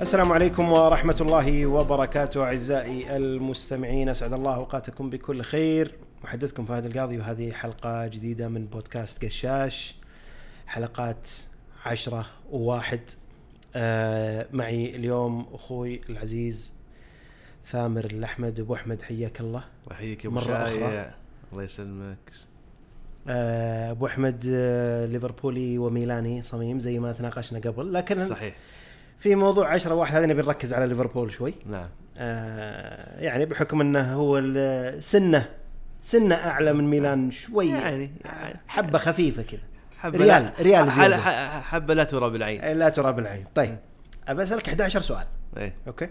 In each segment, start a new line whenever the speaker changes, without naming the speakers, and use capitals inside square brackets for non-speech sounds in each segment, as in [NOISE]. السلام عليكم ورحمة الله وبركاته أعزائي المستمعين أسعد الله أوقاتكم بكل خير محدثكم فهد القاضي وهذه حلقة جديدة من بودكاست قشاش حلقات عشرة وواحد آه معي اليوم أخوي العزيز ثامر الأحمد أبو أحمد حياك الله
الله يحييك يا
مرة
مرة
أخرى.
أخرى الله يسلمك
آه، ابو احمد آه، ليفربولي وميلاني صميم زي ما تناقشنا قبل لكن صحيح.
صحيح
في موضوع 10 واحد هذا نبي نركز على ليفربول شوي
نعم
آه، يعني بحكم انه هو ال- سنه سنه اعلى من ميلان شوي
يعني- يعني-
حبه خفيفه كذا
حبة
طيب. ريال-
لا-
ريال
ح-
زيادة. إيه.
ح- حبة لا ترى بالعين
لا ترى بالعين طيب ابى اسالك 11 سؤال
ايه
اوكي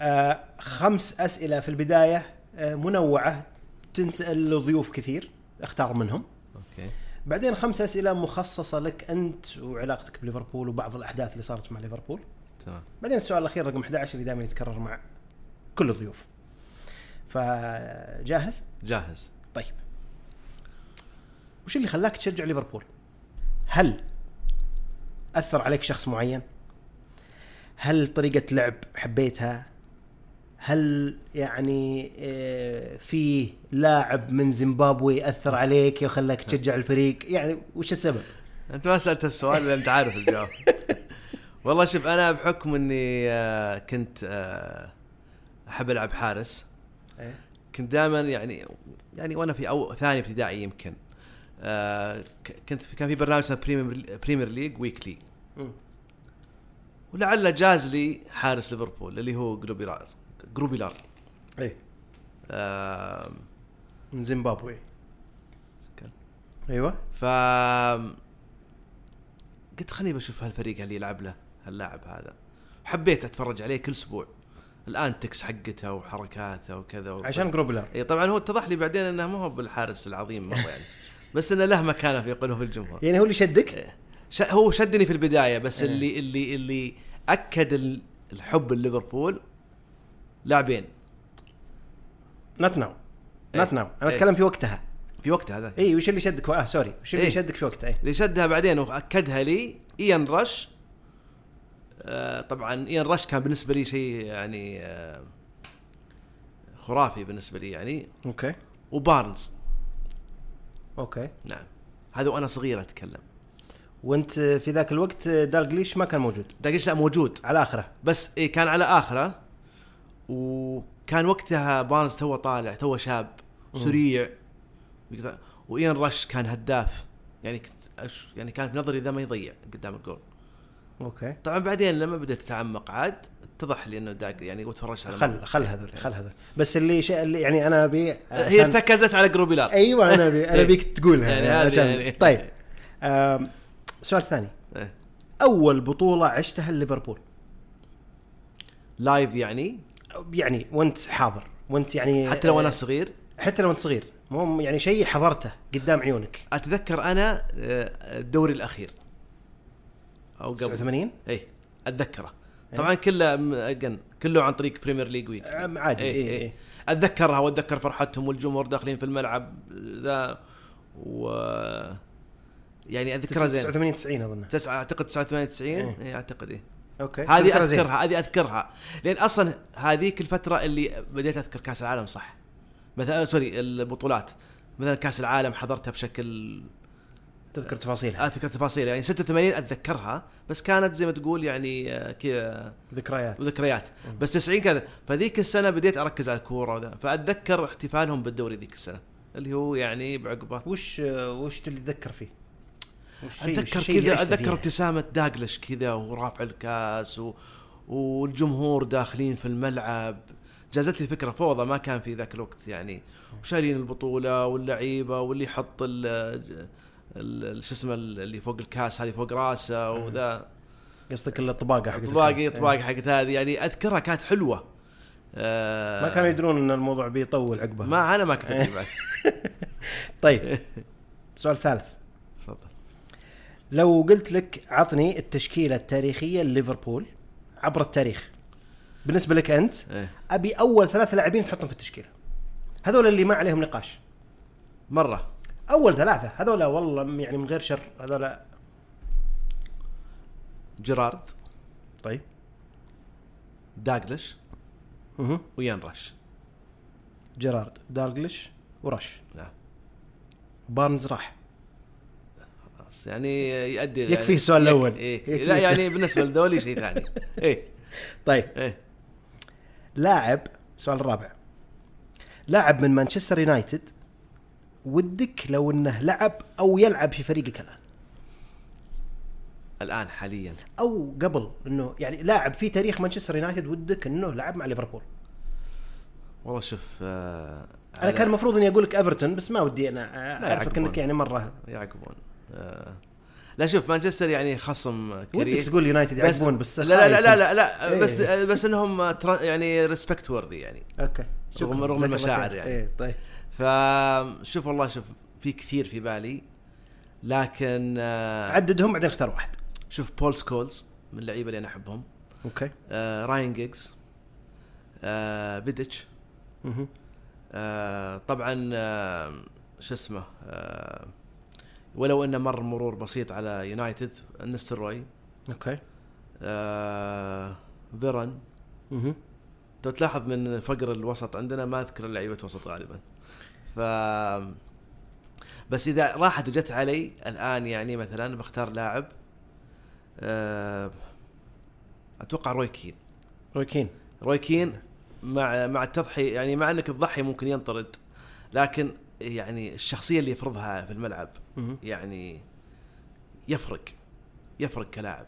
آه، خمس اسئله في البدايه آه، منوعه تنسال ضيوف كثير اختار منهم
اوكي
بعدين خمس اسئله مخصصه لك انت وعلاقتك بليفربول وبعض الاحداث اللي صارت مع ليفربول
تمام
بعدين السؤال الاخير رقم 11 اللي دائما يتكرر مع كل الضيوف فجاهز
جاهز
طيب وش اللي خلاك تشجع ليفربول هل اثر عليك شخص معين هل طريقه لعب حبيتها هل يعني آه، في لاعب من زيمبابوي اثر عليك وخلاك تشجع الفريق يعني وش السبب
انت ما سالت السؤال لان انت
[LAUGHS]
عارف الجواب والله شوف انا بحكم اني آه، كنت آه، احب العب حارس
إيه.
كنت دائما يعني يعني وانا في او ثاني ابتدائي يمكن آه، ك- كنت في- كان في برنامج اسمه بريمير- بريمير ليج ويكلي
مم.
ولعل جاز لي حارس ليفربول اللي هو جروبيلار جروبيلار
ايه
آم،
من زيمبابوي
كان-
ايوه
ف قلت خليني بشوف هالفريق اللي يلعب له هاللاعب هذا حبيت اتفرج عليه كل اسبوع الانتكس حقته وحركاته وكذا وكذا.
عشان جروبلر
اي طبعا هو اتضح لي بعدين انه ما هو بالحارس العظيم مره يعني بس انه له مكانه في قلوب الجمهور
يعني هو اللي شدك
ش... هو شدني في البدايه بس اللي اللي اللي اكد ال- الحب لليفربول لاعبين
نوت ناو
إيه.
نوت ناو انا
إيه.
اتكلم في وقتها
في وقتها هذا
اي وش اللي شدك اه سوري وش اللي
إيه.
شدك في وقتها اي
اللي شدها بعدين واكدها لي ايان رش آه طبعا ايان رش كان بالنسبه لي شيء يعني آه خرافي بالنسبه لي يعني
اوكي
وبارنز
اوكي
نعم هذا وانا صغير اتكلم
وانت في ذاك الوقت دالجليش ما كان موجود
داقش لا موجود
على اخره
بس إيه كان على اخره وكان وقتها بارنز تو طالع تو شاب سريع يقدر- وايان رش كان هداف يعني كنت أش- يعني كان في نظري ذا ما يضيع قدام الجول
اوكي
طبعا بعدين لما بدأت اتعمق عاد اتضح لي انه داق يعني وتفرجت على إيه.
خل خل هذول خل هذول بس اللي شيء اللي يعني انا ابي
هي
عشان-
ارتكزت على جروبيلار
ايوه انا ابي انا ابيك تقولها
يعني
يعني
هذه
عشان
يعني-
طيب آم، السؤال الثاني
إيه.
اول بطوله عشتها ليفربول
لايف يعني
يعني وانت حاضر وانت يعني
حتى لو انا صغير
حتى لو انت صغير مو يعني شيء حضرته قدام عيونك
اتذكر انا آه، الدوري الاخير او قبل
89
اي اتذكره
إيه.
طبعا كله م- again، كله عن طريق بريمير ليج ويك
عم- عادي، إيه، إيه.
اتذكرها واتذكر فرحتهم والجمهور داخلين في الملعب ذا و يعني اتذكرها زين
89 90 اظن
تسعة اعتقد 99
إيه.
إيه، اعتقد ايه
اوكي
هذه
تذكرها زين.
اذكرها هذه اذكرها لان اصلا هذيك الفتره اللي بديت اذكر كاس العالم صح مثلا سوري البطولات مثلا كاس العالم حضرتها بشكل
تذكر تفاصيلها
اذكر تفاصيل يعني 86 اتذكرها بس كانت زي ما تقول يعني آه، كذا
ذكريات
ذكريات بس 90 كذا فذيك السنه بديت اركز على الكوره وذا فاتذكر احتفالهم بالدوري ذيك السنه اللي هو يعني بعقبه
وش وش اللي تذكر فيه؟ وش شيء-
اتذكر
الشيء اللي
كذا
عشت
اتذكر
فيه؟
ابتسامه داقلش كذا وهو رافع الكاس و... والجمهور داخلين في الملعب جازت لي فكره فوضى ما كان في ذاك الوقت يعني وشايلين البطوله واللعيبه واللي يحط ال ال- شو اسمه اللي فوق الكاس هذه فوق راسه وذا
قصدك الطباقه حقت
طباقي
أيوة. الكاس. أيوة.
طباقي حقت هذه يعني اذكرها كانت حلوه
إيه.
آه
ما كانوا يدرون ان الموضوع بيطول عقبه
ما انا ما كنت أدري بعد
طيب السؤال الثالث
تفضل
لو قلت لك عطني التشكيله التاريخيه لليفربول عبر التاريخ بالنسبه لك انت
إيه.
ابي اول ثلاث لاعبين تحطهم في التشكيله هذول اللي ما عليهم نقاش
مره
اول ثلاثه هذول والله يعني من غير شر هذول
جيرارد
طيب
داجلش
مهم.
ويان رش
جيرارد دالجلش ورش
نعم
بارنز راح
خلاص يعني يؤدي
يكفيه السؤال الأول.
إيه.
يكفيه
لا
السؤال.
يعني بالنسبه لذولي
[LAUGHS]
شيء ثاني ايه
طيب
ايه
لاعب السؤال الرابع لاعب من مانشستر يونايتد ودك لو انه لعب او يلعب في فريقك الان
الان حاليا
او قبل انه يعني لاعب في تاريخ مانشستر يونايتد ودك انه لعب مع ليفربول
والله شوف آه
انا كان المفروض اني اقول لك ايفرتون بس ما ودي انا اعرفك
يعقبون.
انك يعني مره
يعقبون آه لا شوف مانشستر يعني خصم
ودك
كريه
تقول يونايتد
بس
يعقبون بس
لا لا لا لا,
خايف.
لا, لا
إيه.
بس بس انهم ترا- يعني ريسبكت وورثي يعني
اوكي شكراً.
رغم- رغم
جزاك الله
المشاعر
خير.
يعني.
ايه طيب
فشوف والله شوف في كثير في بالي لكن آه
عددهم بعدين اختار واحد
شوف بول سكولز من اللعيبه اللي انا احبهم
اوكي
آه راين جيجز آه فيديتش
مهم.
آه طبعا آه شو اسمه آه ولو انه مر مرور بسيط على يونايتد نستروي
اوكي
آه فيرن
مهم.
لو تلاحظ من فقر الوسط عندنا ما اذكر لعيبه وسط غالبا ف بس اذا راحت وجت علي الان يعني مثلا بختار لاعب آه، اتوقع روي كين
روي كين
روي كين مع مع التضحي يعني مع انك تضحي ممكن ينطرد لكن يعني الشخصيه اللي يفرضها في الملعب
مهم.
يعني يفرق يفرق كلاعب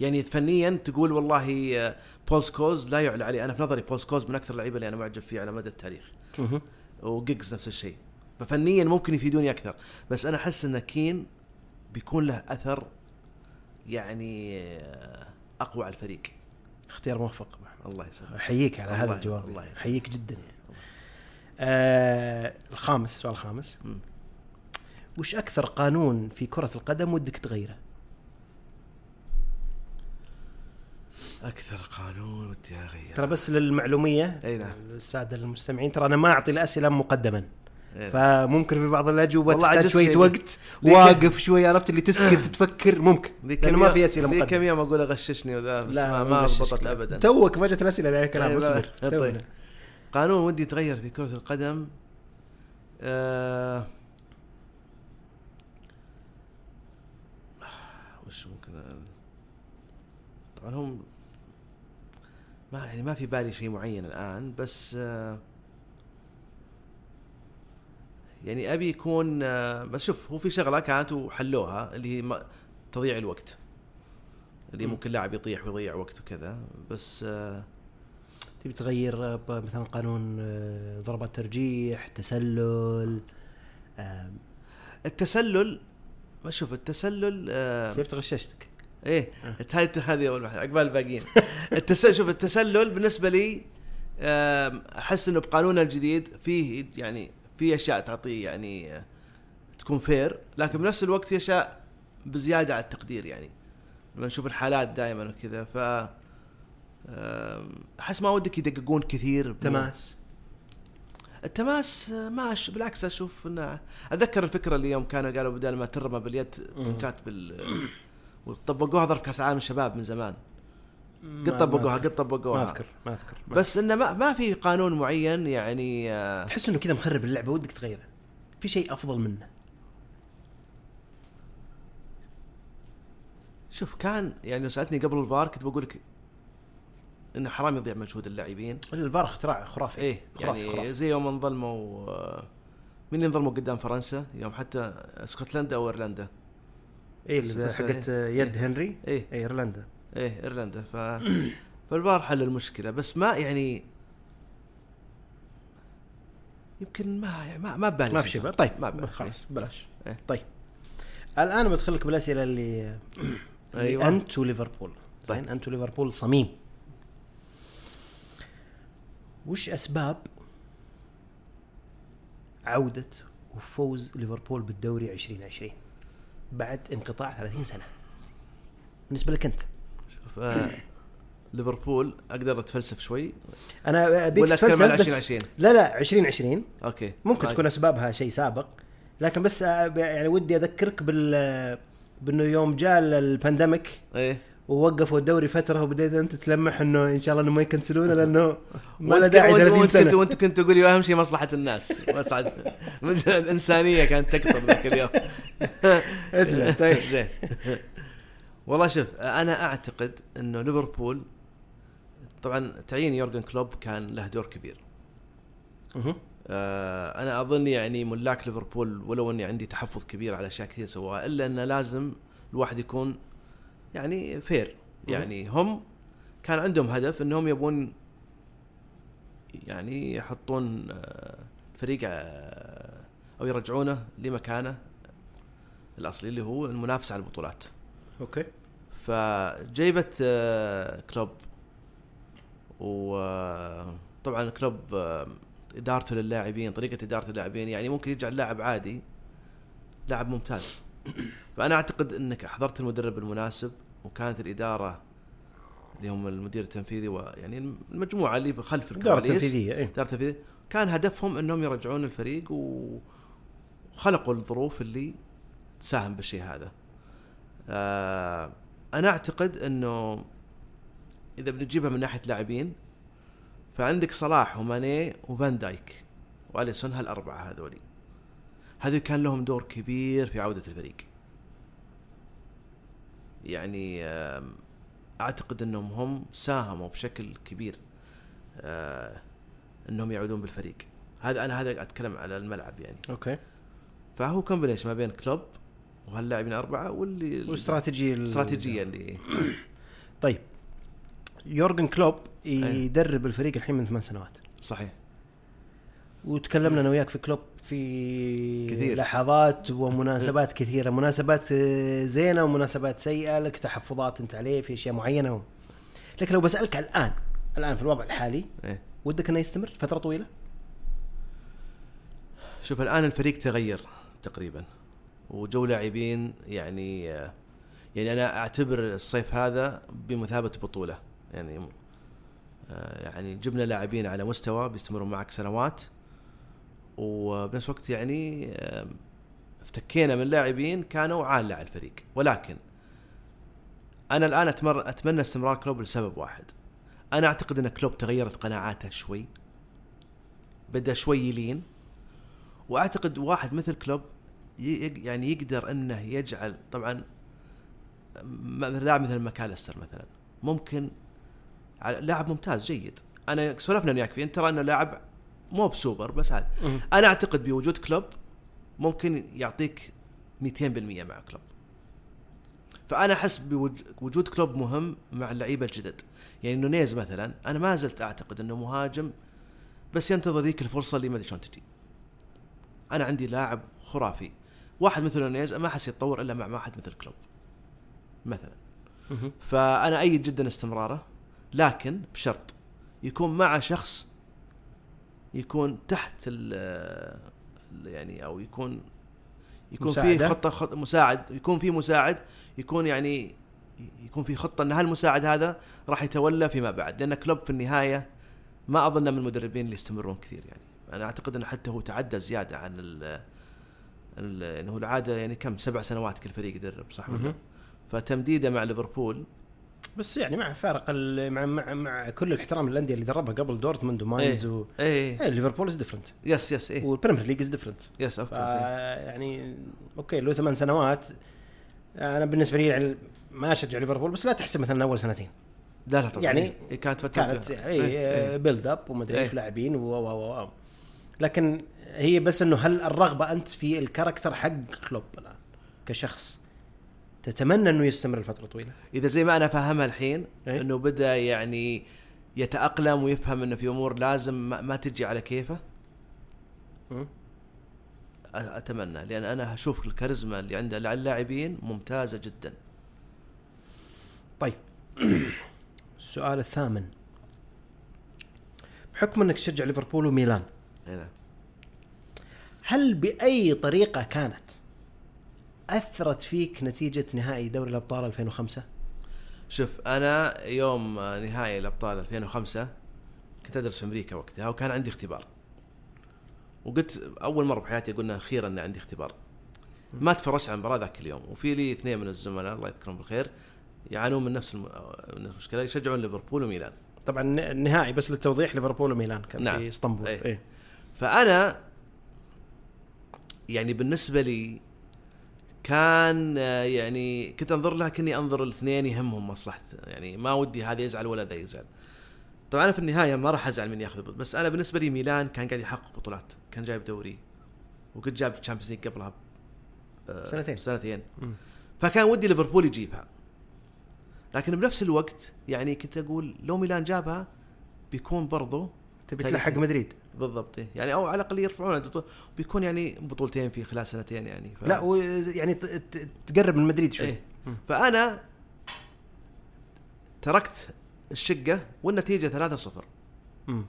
يعني فنيا تقول والله آه، بول سكوز لا يعلى عليه انا في نظري بول سكوز من اكثر اللعيبه اللي انا معجب فيه على مدى التاريخ
مهم.
وجيجز نفس الشيء ففنيا ممكن يفيدوني اكثر بس انا احس ان كين بيكون له اثر يعني آه، اقوى على الفريق
اختيار موفق أبو أحمد.
الله يسلمك
احييك على هذا
الله-
الجواب
الله يسلمك.
احييك جدا يعني. آه الخامس السؤال الخامس
مم.
وش اكثر قانون في كرة القدم ودك تغيره؟
اكثر قانون ودي اغير
ترى بس للمعلومية
أي نعم.
السادة المستمعين ترى انا ما اعطي الاسئلة مقدما
إيه.
فممكن في بعض الاجوبة
والله
تحتاج
عجزت
شوية
يعني. أه.
وقت
ليه
واقف شوي عرفت اللي تسكت تفكر ممكن
لي
لانه ما في اسئلة
لي كم
مقدمة
يوم اقول اغششني وذا بس
لا
ما, ما
غششك.
ضبطت ابدا
توك ما جت الاسئلة على كلام
طيب،
اصبر
طيب.
تونا.
قانون ودي يتغير في كرة القدم آه وش ممكن أ- طبعا هم ما يعني ما في بالي شيء معين الان بس آه يعني ابي يكون آه بس شوف هو في شغله كانت وحلوها اللي هي ما- تضييع الوقت اللي
مم.
ممكن لاعب يطيح ويضيع وقته وكذا بس آه
تبي تغير آه، ب- مثلا قانون آه، ضربات ترجيح تسلل آه،
التسلل ما شوف التسلل آه
كيف تغششتك؟
ايه هاي هذه اول واحده عقبال الباقيين [LAUGHS] التسلل شوف التسلل بالنسبه لي آم، احس انه بقانونه الجديد فيه يعني في اشياء تعطيه يعني آه، تكون فير لكن بنفس الوقت في اشياء بزياده على التقدير يعني لما نشوف الحالات دائما وكذا ف آم، احس ما ودك يدققون كثير
تماس
التماس ما أش... بالعكس اشوف انه اتذكر الفكره اللي يوم كانوا قالوا بدل ما ترمى باليد تنشات بال وطبقوها ضرب كاس عالم الشباب من زمان
ما-
قد
ما
طبقوها
أذكر.
قد طبقوها
ما اذكر ما اذكر ما
بس انه ما, ما في قانون معين يعني آه،
أذكر. تحس انه كذا مخرب اللعبه ودك تغيره في شيء افضل منه
شوف كان يعني لو سالتني قبل الفار كنت بقول لك انه حرام يضيع مجهود اللاعبين
الفار اختراع خرافي
ايه
خرافي
يعني
خرافي
زي يوم انظلموا آه، مين اللي انظلموا قدام فرنسا يوم حتى اسكتلندا او ايرلندا
ايه
تسلسل،
اللي حقت
إيه.
يد هنري
ايه
ايه ايرلندا
ايه ايرلندا ف
[CLEARS THROAT]
فالفار حل المشكله بس ما يعني يمكن ما يعني ما ما ببالي
ما في شيء
شيء صار.
طيب
ما ببالي.
خلاص بلاش
إيه.
طيب الان بدخلك بالاسئله اللي
[CLEARS THROAT] أيوة. طيب.
أيوة. انت وليفربول زين انت وليفربول صميم وش اسباب عوده وفوز ليفربول بالدوري 2020 بعد انقطاع 30 سنه بالنسبه لك انت
شوف آه، ليفربول اقدر اتفلسف شوي
انا ابيك
ولا أتكلم
تتفلسف
عن
بس-
2020.
لا لا 2020
اوكي
ممكن
طيب.
تكون اسبابها شيء سابق لكن آه، بس آه، يعني ودي اذكرك بال بانه يوم جاء البانديميك
ايه
ووقفوا الدوري فتره وبديت انت تلمح انه ان شاء الله انه ما يكنسلونه
[LAUGHS]
لانه ما
وأنت
له
كنت-
داعي
وأنت-
30
وأنت كنت-
سنه
وانت كنت تقول لي اهم شيء مصلحه الناس مصلحه من جهة الانسانيه كانت تكتب
[LAUGHS]
ذاك اليوم [LAUGHS]
اسلم طيب
زين والله شوف انا اعتقد انه ليفربول طبعا تعيين يورجن كلوب كان له دور كبير
مهم.
آه، انا اظن يعني ملاك ليفربول ولو اني عندي تحفظ كبير على اشياء كثير سواها الا انه لازم الواحد يكون يعني فير يعني هم كان عندهم هدف انهم يبون يعني يحطون آه، الفريق آه، او يرجعونه لمكانه الاصلي اللي هو المنافسه على البطولات
اوكي
فجيبة آه، كلوب وطبعا كلوب آه، ادارته للاعبين طريقه اداره اللاعبين يعني ممكن يجعل لاعب عادي لاعب ممتاز [COUGHS] فانا اعتقد انك احضرت المدرب المناسب وكانت الاداره اللي هم المدير التنفيذي ويعني المجموعه اللي خلف
اداره
الكواليس
تنفيذيه اي
اداره تنفيذيه كان هدفهم انهم يرجعون الفريق و- وخلقوا الظروف اللي تساهم بالشيء هذا. آه، انا اعتقد انه اذا بنجيبها من ناحيه لاعبين فعندك صلاح وماني وفان دايك واليسون هالاربعه هذولي. هذول كان لهم دور كبير في عوده الفريق. يعني آم، اعتقد انهم هم ساهموا بشكل كبير آه، انهم يعودون بالفريق هذا انا هذا اتكلم على الملعب يعني
اوكي
فهو كومبينيشن ما بين كلوب وهاللاعبين اربعه واللي
واستراتيجيه ال-
الاستراتيجيه اللي
طيب يورجن كلوب يدرب الفريق الحين من ثمان سنوات
صحيح
وتكلمنا انا وياك في كلوب في
كثير.
لحظات [LAUGHS] ومناسبات كثيره مناسبات آه، زينه ومناسبات سيئه لك تحفظات انت عليه في اشياء معينه و... لكن لو بسالك الان الان في الوضع الحالي
إيه.
ودك انه يستمر فتره طويله؟
شوف الان الفريق تغير تقريبا وجو لاعبين يعني آه، يعني انا اعتبر الصيف هذا بمثابه بطوله يعني آه، يعني جبنا لاعبين على مستوى بيستمرون معك سنوات وبنفس الوقت يعني آه، افتكينا من لاعبين كانوا عالة على الفريق ولكن انا الان أتمر اتمنى استمرار كلوب لسبب واحد انا اعتقد ان كلوب تغيرت قناعاته شوي بدا شوي يلين واعتقد واحد مثل كلوب ي- يق- يعني يقدر انه يجعل طبعا م- لاعب مثل ماكاليستر مثلا ممكن على- لاعب ممتاز جيد انا سولفنا أنا وياك فيه انت ترى انه لاعب مو بسوبر بس عاد انا اعتقد بوجود كلوب ممكن يعطيك 200% مع كلوب فانا احس بوجود كلوب مهم مع اللعيبه الجدد يعني نونيز مثلا انا ما زلت اعتقد انه مهاجم بس ينتظر ذيك الفرصه اللي ما ادري شلون تجي انا عندي لاعب خرافي واحد مثل نونيز ما احس يتطور الا مع واحد مثل كلوب مثلا فانا ايد جدا استمراره لكن بشرط يكون مع شخص يكون تحت ال ال- يعني او يكون يكون في
مساعدة.
خطه خط مساعد يكون في مساعد يكون يعني يكون في خطه ان هالمساعد هذا راح يتولى فيما بعد لان كلوب في النهايه ما اظن من المدربين اللي يستمرون كثير يعني انا اعتقد انه حتى هو تعدى زياده عن ال ال- انه العاده يعني كم سبع سنوات كل فريق يدرب صح ولا لا؟
مهم.
فتمديده مع ليفربول
[LAUGHS] بس يعني مع فارق ال- مع مع, مع كل الاحترام للانديه اللي دربها قبل دورتموند وماينز و
ايه
إيه، ليفربول از ديفرنت
يس يس ايه
والبريمير ليج از ديفرنت
يس اوف كورس
يعني اوكي له ثمان سنوات انا بالنسبه لي يعني ما اشجع ليفربول بس لا تحسب مثلا اول سنتين
لا لا طبعا
يعني
يعني إيه كانت فتره
كانت
إيه،
اي
إيه.
بيلد اب ومدري ايش
إيه.
لاعبين و و- و و لكن هي بس انه هل الرغبه انت في الكاركتر حق كلوب الان كشخص تتمنى انه يستمر لفتره طويله
اذا زي ما انا فاهمها الحين
إيه.
انه بدا يعني يتاقلم ويفهم انه في امور لازم ما, ما تجي على كيفه
مم.
أ- اتمنى لان انا اشوف الكاريزما اللي عنده على اللاعبين ممتازه جدا
طيب [CLEARS THROAT] السؤال الثامن بحكم انك تشجع ليفربول وميلان
هنا
هل باي طريقه كانت اثرت فيك نتيجه نهائي دوري الابطال 2005
شوف انا يوم نهائي الابطال 2005 كنت ادرس في امريكا وقتها وكان عندي اختبار وقلت اول مره بحياتي قلنا اخيرا ان عندي اختبار ما تفرجت على المباراه ذاك اليوم وفي لي اثنين من الزملاء الله يذكرهم بالخير يعانون من نفس الم- من نفس المشكله يشجعون ليفربول وميلان
طبعا النهائي بس للتوضيح ليفربول وميلان كان
نعم.
في اسطنبول
إيه.
إيه.
فانا يعني بالنسبه لي كان آه، يعني كنت انظر لها كاني انظر الاثنين يهمهم مصلحته يعني ما ودي هذا يزعل ولا ذا يزعل طبعا انا في النهايه ما راح ازعل من ياخذ البطولة، بس انا بالنسبه لي ميلان كان قاعد يحقق بطولات كان جايب دوري وكنت جاب تشامبيونز ليج قبلها آه،
سنتين.
سنتين
مم.
فكان ودي ليفربول يجيبها لكن بنفس الوقت يعني كنت اقول لو ميلان جابها بيكون برضه
تبي
تاريخ.
تلحق مدريد
بالضبط إيه. يعني او على الاقل يرفعون البطولة. بيكون يعني بطولتين في خلال سنتين يعني ف...
لا و... يعني ت... ت... تقرب من مدريد شوي
إيه.
مم.
فانا تركت الشقه والنتيجه 3-0
مم.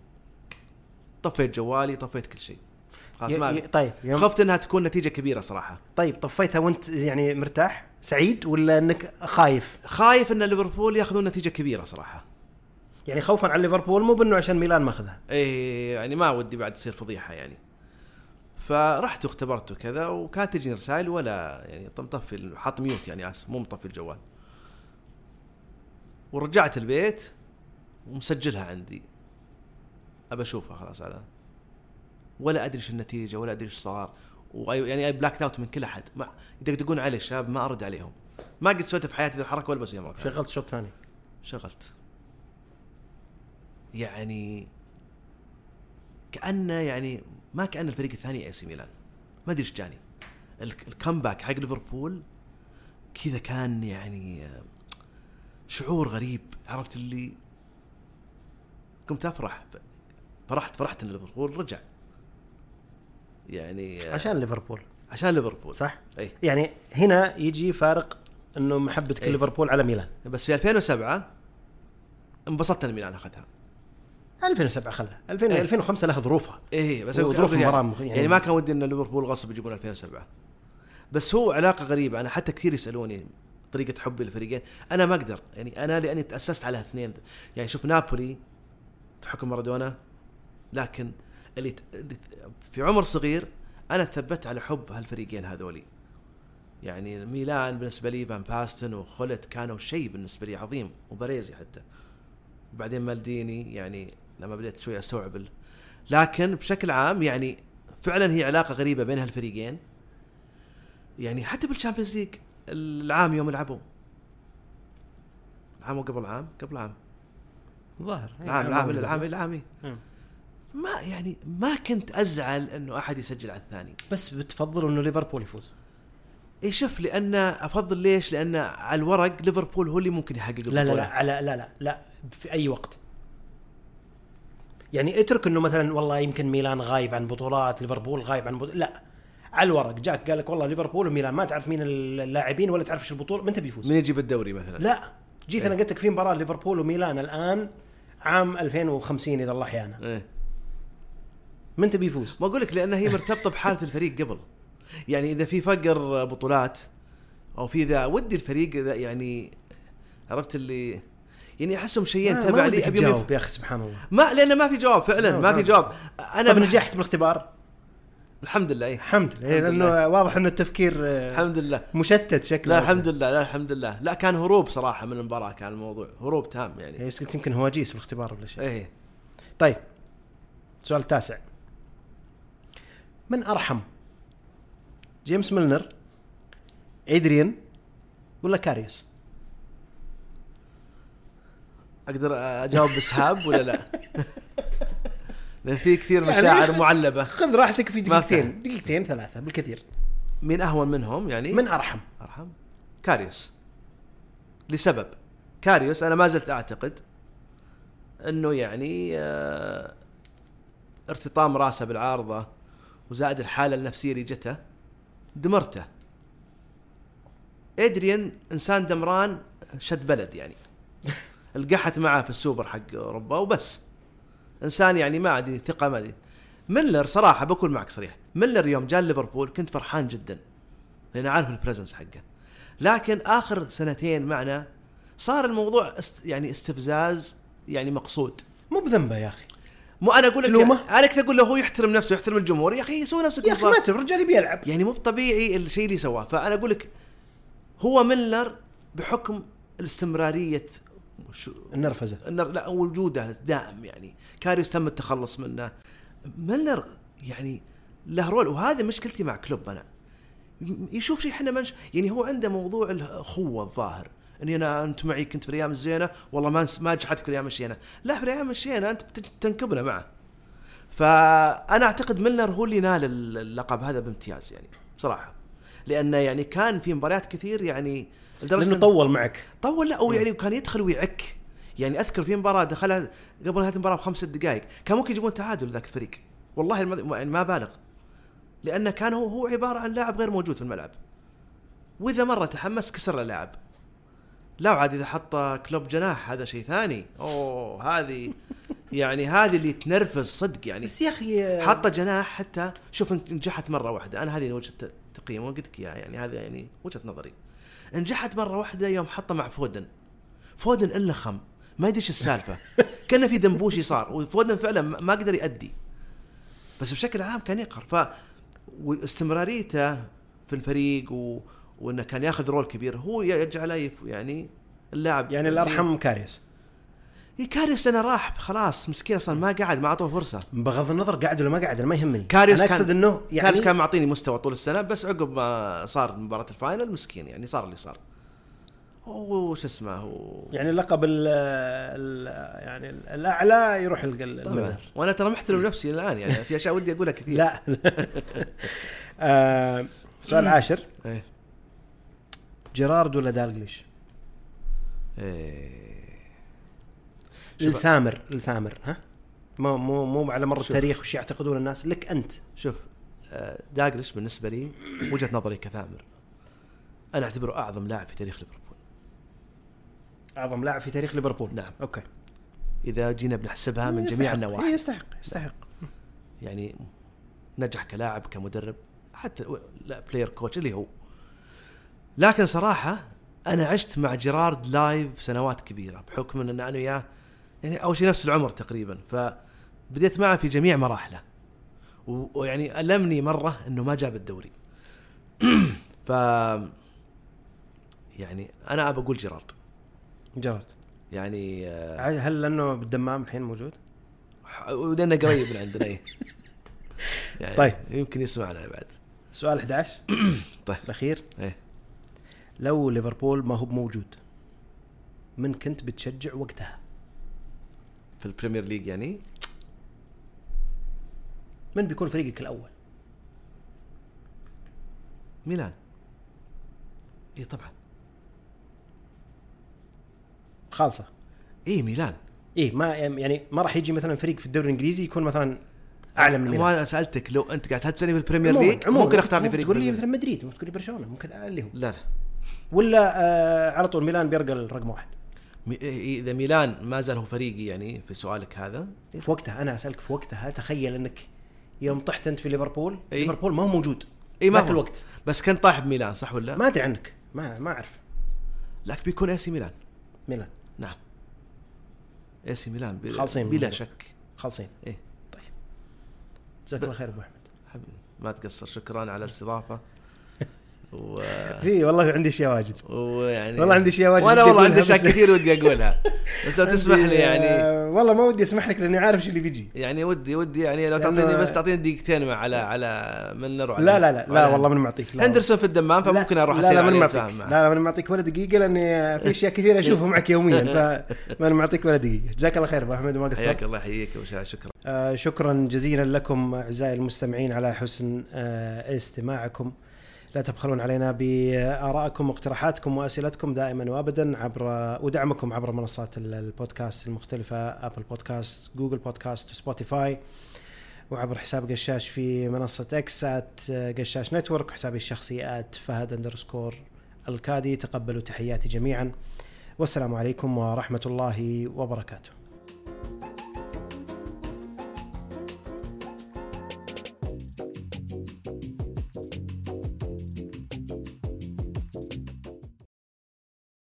طفيت جوالي طفيت كل شيء خلاص
ي-
ما
ي...
أبي.
طيب يوم...
خفت انها تكون نتيجه كبيره صراحه
طيب طفيتها وانت يعني مرتاح سعيد ولا انك خايف
خايف ان ليفربول ياخذون نتيجه كبيره صراحه
يعني خوفا على ليفربول مو بانه عشان ميلان ماخذها
ايه يعني ما ودي بعد تصير فضيحه يعني فرحت واختبرت وكذا وكانت تجيني رسائل ولا يعني طب مطفي حاط ميوت يعني اسف مو مطفي الجوال ورجعت البيت ومسجلها عندي ابى اشوفها خلاص على ولا ادري ايش النتيجه ولا ادري ايش صار وأي- يعني اي بلاك اوت من كل احد ما يقدر تقول علي شاب ما ارد عليهم ما قد سويت في حياتي ذا الحركه ولا بسويها مره ثانية.
شغلت شوط ثاني
شغلت يعني كانه يعني ما كان الفريق الثاني اي سي ميلان ما ادري ايش جاني ال- الكمباك حق ليفربول كذا كان يعني آه، شعور غريب عرفت اللي قمت افرح ف- فرحت فرحت ان ليفربول رجع يعني آه،
عشان ليفربول
عشان ليفربول إيه،
صح
اي
يعني هنا يجي فارق انه محبتك
إيه.
ليفربول على ميلان
بس في 2007 انبسطت ان ميلان اخذها
2007 خلها 2000
إيه.
2005 لها ظروفها
ايه بس
وظروف
أقول
المباراة
يعني,
مخ- يعني-
يعني, ما كان ودي ان ليفربول غصب يجيبون 2007 بس هو علاقه غريبه انا حتى كثير يسالوني طريقه حبي للفريقين انا ما اقدر يعني انا لاني تاسست على اثنين يعني شوف نابولي بحكم مارادونا لكن اللي ت- اللي ت- في عمر صغير انا ثبت على حب هالفريقين هذولي يعني ميلان بالنسبه لي فان باستن وخولت كانوا شيء بالنسبه لي عظيم وبريزي حتى بعدين مالديني يعني لما بديت شوي استوعب ال- لكن بشكل عام يعني فعلا هي علاقه غريبه بين هالفريقين يعني حتى بالشامبيونز ليج العام يوم لعبوا العام وقبل عام قبل عام
ظاهر يعني
العام العام العام العام
مم.
ما يعني ما كنت ازعل انه احد يسجل على الثاني
بس بتفضل انه ليفربول يفوز
اي شوف لان افضل ليش لان على الورق ليفربول هو اللي ممكن يحقق
لا لا
البطولة.
لا على لا لا لا في اي وقت يعني اترك انه مثلا والله يمكن ميلان غايب عن بطولات ليفربول غايب عن بطولات لا على الورق جاك قال لك والله ليفربول وميلان ما تعرف مين اللاعبين ولا تعرف ايش البطوله ما انت بيفوز
من يجيب الدوري مثلا
لا جيت انا قلت لك في مباراه ليفربول وميلان الان عام 2050 اذا الله احيانا
إيه.
ما انت بيفوز
ما اقول لك لان هي مرتبطه بحاله الفريق قبل يعني اذا في فقر بطولات او في ذا ودي الفريق اذا يعني عرفت اللي يعني احسهم شيئين
ما-
تبع
ما
لي
ودك
أبيهم يف-
تجاوب يا اخي سبحان الله
ما لانه ما في جواب فعلا
لا،
ما في
جواب.
جواب انا
طب
بح-
نجحت بالاختبار
الحمد لله إيه.
الحمد لله
الحمد
لانه
لله.
واضح انه التفكير آه،
الحمد لله
مشتت شكله إيه،
لا الحمد لله لا الحمد لله لا كان هروب صراحه من المباراه كان الموضوع هروب تام يعني
يعني قلت يمكن هواجيس بالاختبار ولا شيء
ايه
طيب السؤال التاسع من ارحم جيمس ميلنر ادريان ولا كاريوس
اقدر اجاوب بسهاب ولا لا؟
[LAUGHS]
لان في كثير
يعني
مشاعر معلبه
خذ راحتك في
ما
دقيقتين دقيقتين ثلاثه بالكثير
مين اهون منهم يعني؟
من ارحم
ارحم كاريوس لسبب كاريوس انا ما زلت اعتقد انه يعني آه، ارتطام راسه بالعارضه وزائد الحاله النفسيه اللي جته دمرته ادريان انسان دمران شد بلد يعني القحت معاه في السوبر حق اوروبا وبس انسان يعني ما عندي ثقه ما عندي ميلر صراحه بكون معك صريح ميلر يوم جاء ليفربول كنت فرحان جدا لان عارف البريزنس حقه لكن اخر سنتين معنا صار الموضوع است يعني استفزاز يعني مقصود
مو بذنبه يا اخي
مو انا اقول لك
تلومه؟
انا كنت اقول له هو يحترم نفسه يحترم الجمهور يا اخي سوي نفسك
يا اخي
نصاب.
ما تبي الرجال يبي يلعب
يعني مو بطبيعي الشيء اللي سواه فانا اقول لك هو ميلر بحكم الاستمراريه شو-
النرفزه
النر- لا وجوده دائم يعني كاريوس تم التخلص منه ملنر يعني له رول وهذا مشكلتي مع كلوب انا م- يشوف شيء احنا منش يعني هو عنده موضوع الاخوه الظاهر اني انا انت معي كنت في الايام الزينه والله ما انس- ما جحدت في الايام الشينه لا في الايام الشينه انت بت- تنكبنا معه فانا اعتقد ميلنر هو اللي نال اللقب هذا بامتياز يعني بصراحه لانه يعني كان في مباريات كثير يعني
لانه
إن-
طول معك
طول لا او يعني كان يدخل ويعك يعني اذكر في مباراه دخلها قبل هذه المباراه بخمس دقائق كان ممكن يجيبون تعادل ذاك الفريق والله الم- يعني ما بالغ لانه كان هو هو عباره عن لاعب غير موجود في الملعب واذا مره تحمس كسر اللاعب لا عاد اذا حط كلوب جناح هذا شيء ثاني اوه هذه يعني هذه اللي تنرفز صدق يعني
بس يا اخي
حط جناح حتى شوف إن- نجحت مره واحده انا هذه وجهه ت- تقييم وقلت لك اياها يعني هذا يعني وجهه نظري نجحت مره واحده يوم حطه مع فودن فودن الا خم ما يدري ايش السالفه كان في دنبوشي صار وفودن فعلا ما ما قدر يأدي بس بشكل عام كان يقهر ف واستمراريته في الفريق و... وانه كان ياخذ رول كبير هو يجعله يف- يعني اللاعب
يعني الارحم كاريوس
إي كاريوس لانه راح خلاص مسكين اصلا ما قعد ما اعطوه فرصه
بغض النظر قاعد ولا ما قاعد أنا ما يهمني
كاريوس
انا
كان-
اقصد انه
يعني
يعني
كاريوس كان معطيني مستوى طول السنه بس عقب ما صار مباراه الفاينل مسكين يعني صار اللي صار وش اسمه هو
يعني لقب ال ال- يعني ال- الاعلى يروح الق-
طبعا.
المنهر
وانا ترى محترم نفسي الان يعني في اشياء ودي اقولها كثير
لا [LAUGHS] آه، سؤال عاشر
ايه
جيرارد ولا دالجليش؟
ايه شوف-
الثامر الثامر ها مو مو مو على مر
شوف.
التاريخ وش يعتقدون الناس لك انت
شوف آه، داجلش بالنسبه لي وجهه نظري كثامر انا اعتبره اعظم لاعب في تاريخ ليفربول
اعظم لاعب في تاريخ ليفربول
نعم.
اوكي
اذا جينا بنحسبها من
يستحق.
جميع النواحي
إيه، يستحق يستحق
يعني نجح كلاعب كمدرب حتى و- لا بلاير كوتش اللي هو لكن صراحه انا عشت مع جيرارد لايف سنوات كبيره بحكم ان انا وياه يعني اول شيء نفس العمر تقريبا فبديت معه في جميع مراحله و- ويعني المني مره انه ما جاب الدوري [CLEARS THROAT] ف يعني انا ابى اقول جيرارد
جيرارد
يعني آه،
ع- هل لانه بالدمام الحين موجود؟
ح- ولانه قريب من عندنا إيه. يعني
طيب.
يمكن يسمعنا بعد
سؤال 11
[COUGHS] طيب
الاخير
ايه
لو ليفربول ما هو موجود من كنت بتشجع وقتها؟
في البريمير ليج يعني
من بيكون فريقك الاول؟
ميلان إيه اي طبعا
خالصه
اي إيه ميلان
ايه ما يعني ما راح يجي مثلا فريق في الدوري الانجليزي يكون مثلا اعلى من
مو
ميلان
انا سالتك لو انت قاعد تسالني في البريمير
عموماً-
ليج
عموماً.
ممكن اختار لي
ممكن
فريق
تقول لي
بالبريمير.
مثلا مدريد ممكن تقول لي برشلونه ممكن اللي هو
لا لا
ولا آه على طول ميلان بيرقى رقم واحد
مي- إيه، اذا ميلان ما زال هو فريقي يعني في سؤالك هذا
في وقتها انا اسالك في وقتها تخيل انك يوم طحت انت في ليفربول
إيه.
ليفربول ما هو موجود
اي إيه، ما
ذاك
هو
الوقت
بس كان طاح بميلان صح ولا
ما ادري عنك ما ما اعرف
لكن بيكون اي سي ميلان
ميلان
نعم اي سي ميلان بلا-
خالصين من
بلا
الموضوع.
شك
خالصين
ايه
طيب جزاك الله خير ابو احمد
حبيبي ما تقصر شكرا على الاستضافه [LAUGHS] و...
في والله عندي اشياء واجد
ويعني
والله عندي أشياء واجد
وانا
ودي
والله عندي
أقولها
اشياء
بس- آه،
كثير ودي اقولها
[LAUGHS]
بس لو تسمح لي يعني
والله ما ودي اسمح لك لاني عارف ايش اللي [LAUGHS] بيجي
يعني ودي ودي يعني لو
لأنه-
تعطيني بس تعطيني دقيقتين مع على على ملنر وعلى
لا لا لا لا
وعلى-
والله من معطيك لا
هندرسون في الدمام
والله.
فممكن اروح
لا لا
اسير
من
عليه
معطيك
وأتفاهم
لا
معه
لا من معطيك ولا دقيقه لاني في اشياء كثيره اشوفها معك يوميا فمن معطيك ولا دقيقه جزاك الله خير ابو احمد وما قصرت
حياك الله يحييك وشا- شكرا
آه، شكرا جزيلا لكم اعزائي المستمعين على حسن آه، استماعكم لا تبخلون علينا بارائكم واقتراحاتكم واسئلتكم دائما وابدا عبر ودعمكم عبر منصات ال- البودكاست المختلفه ابل بودكاست جوجل بودكاست سبوتيفاي وعبر حساب قشاش في منصة اكس ات قشاش نتورك وحسابي الشخصي ات فهد اندرسكور الكادي تقبلوا تحياتي جميعا والسلام عليكم ورحمة الله وبركاته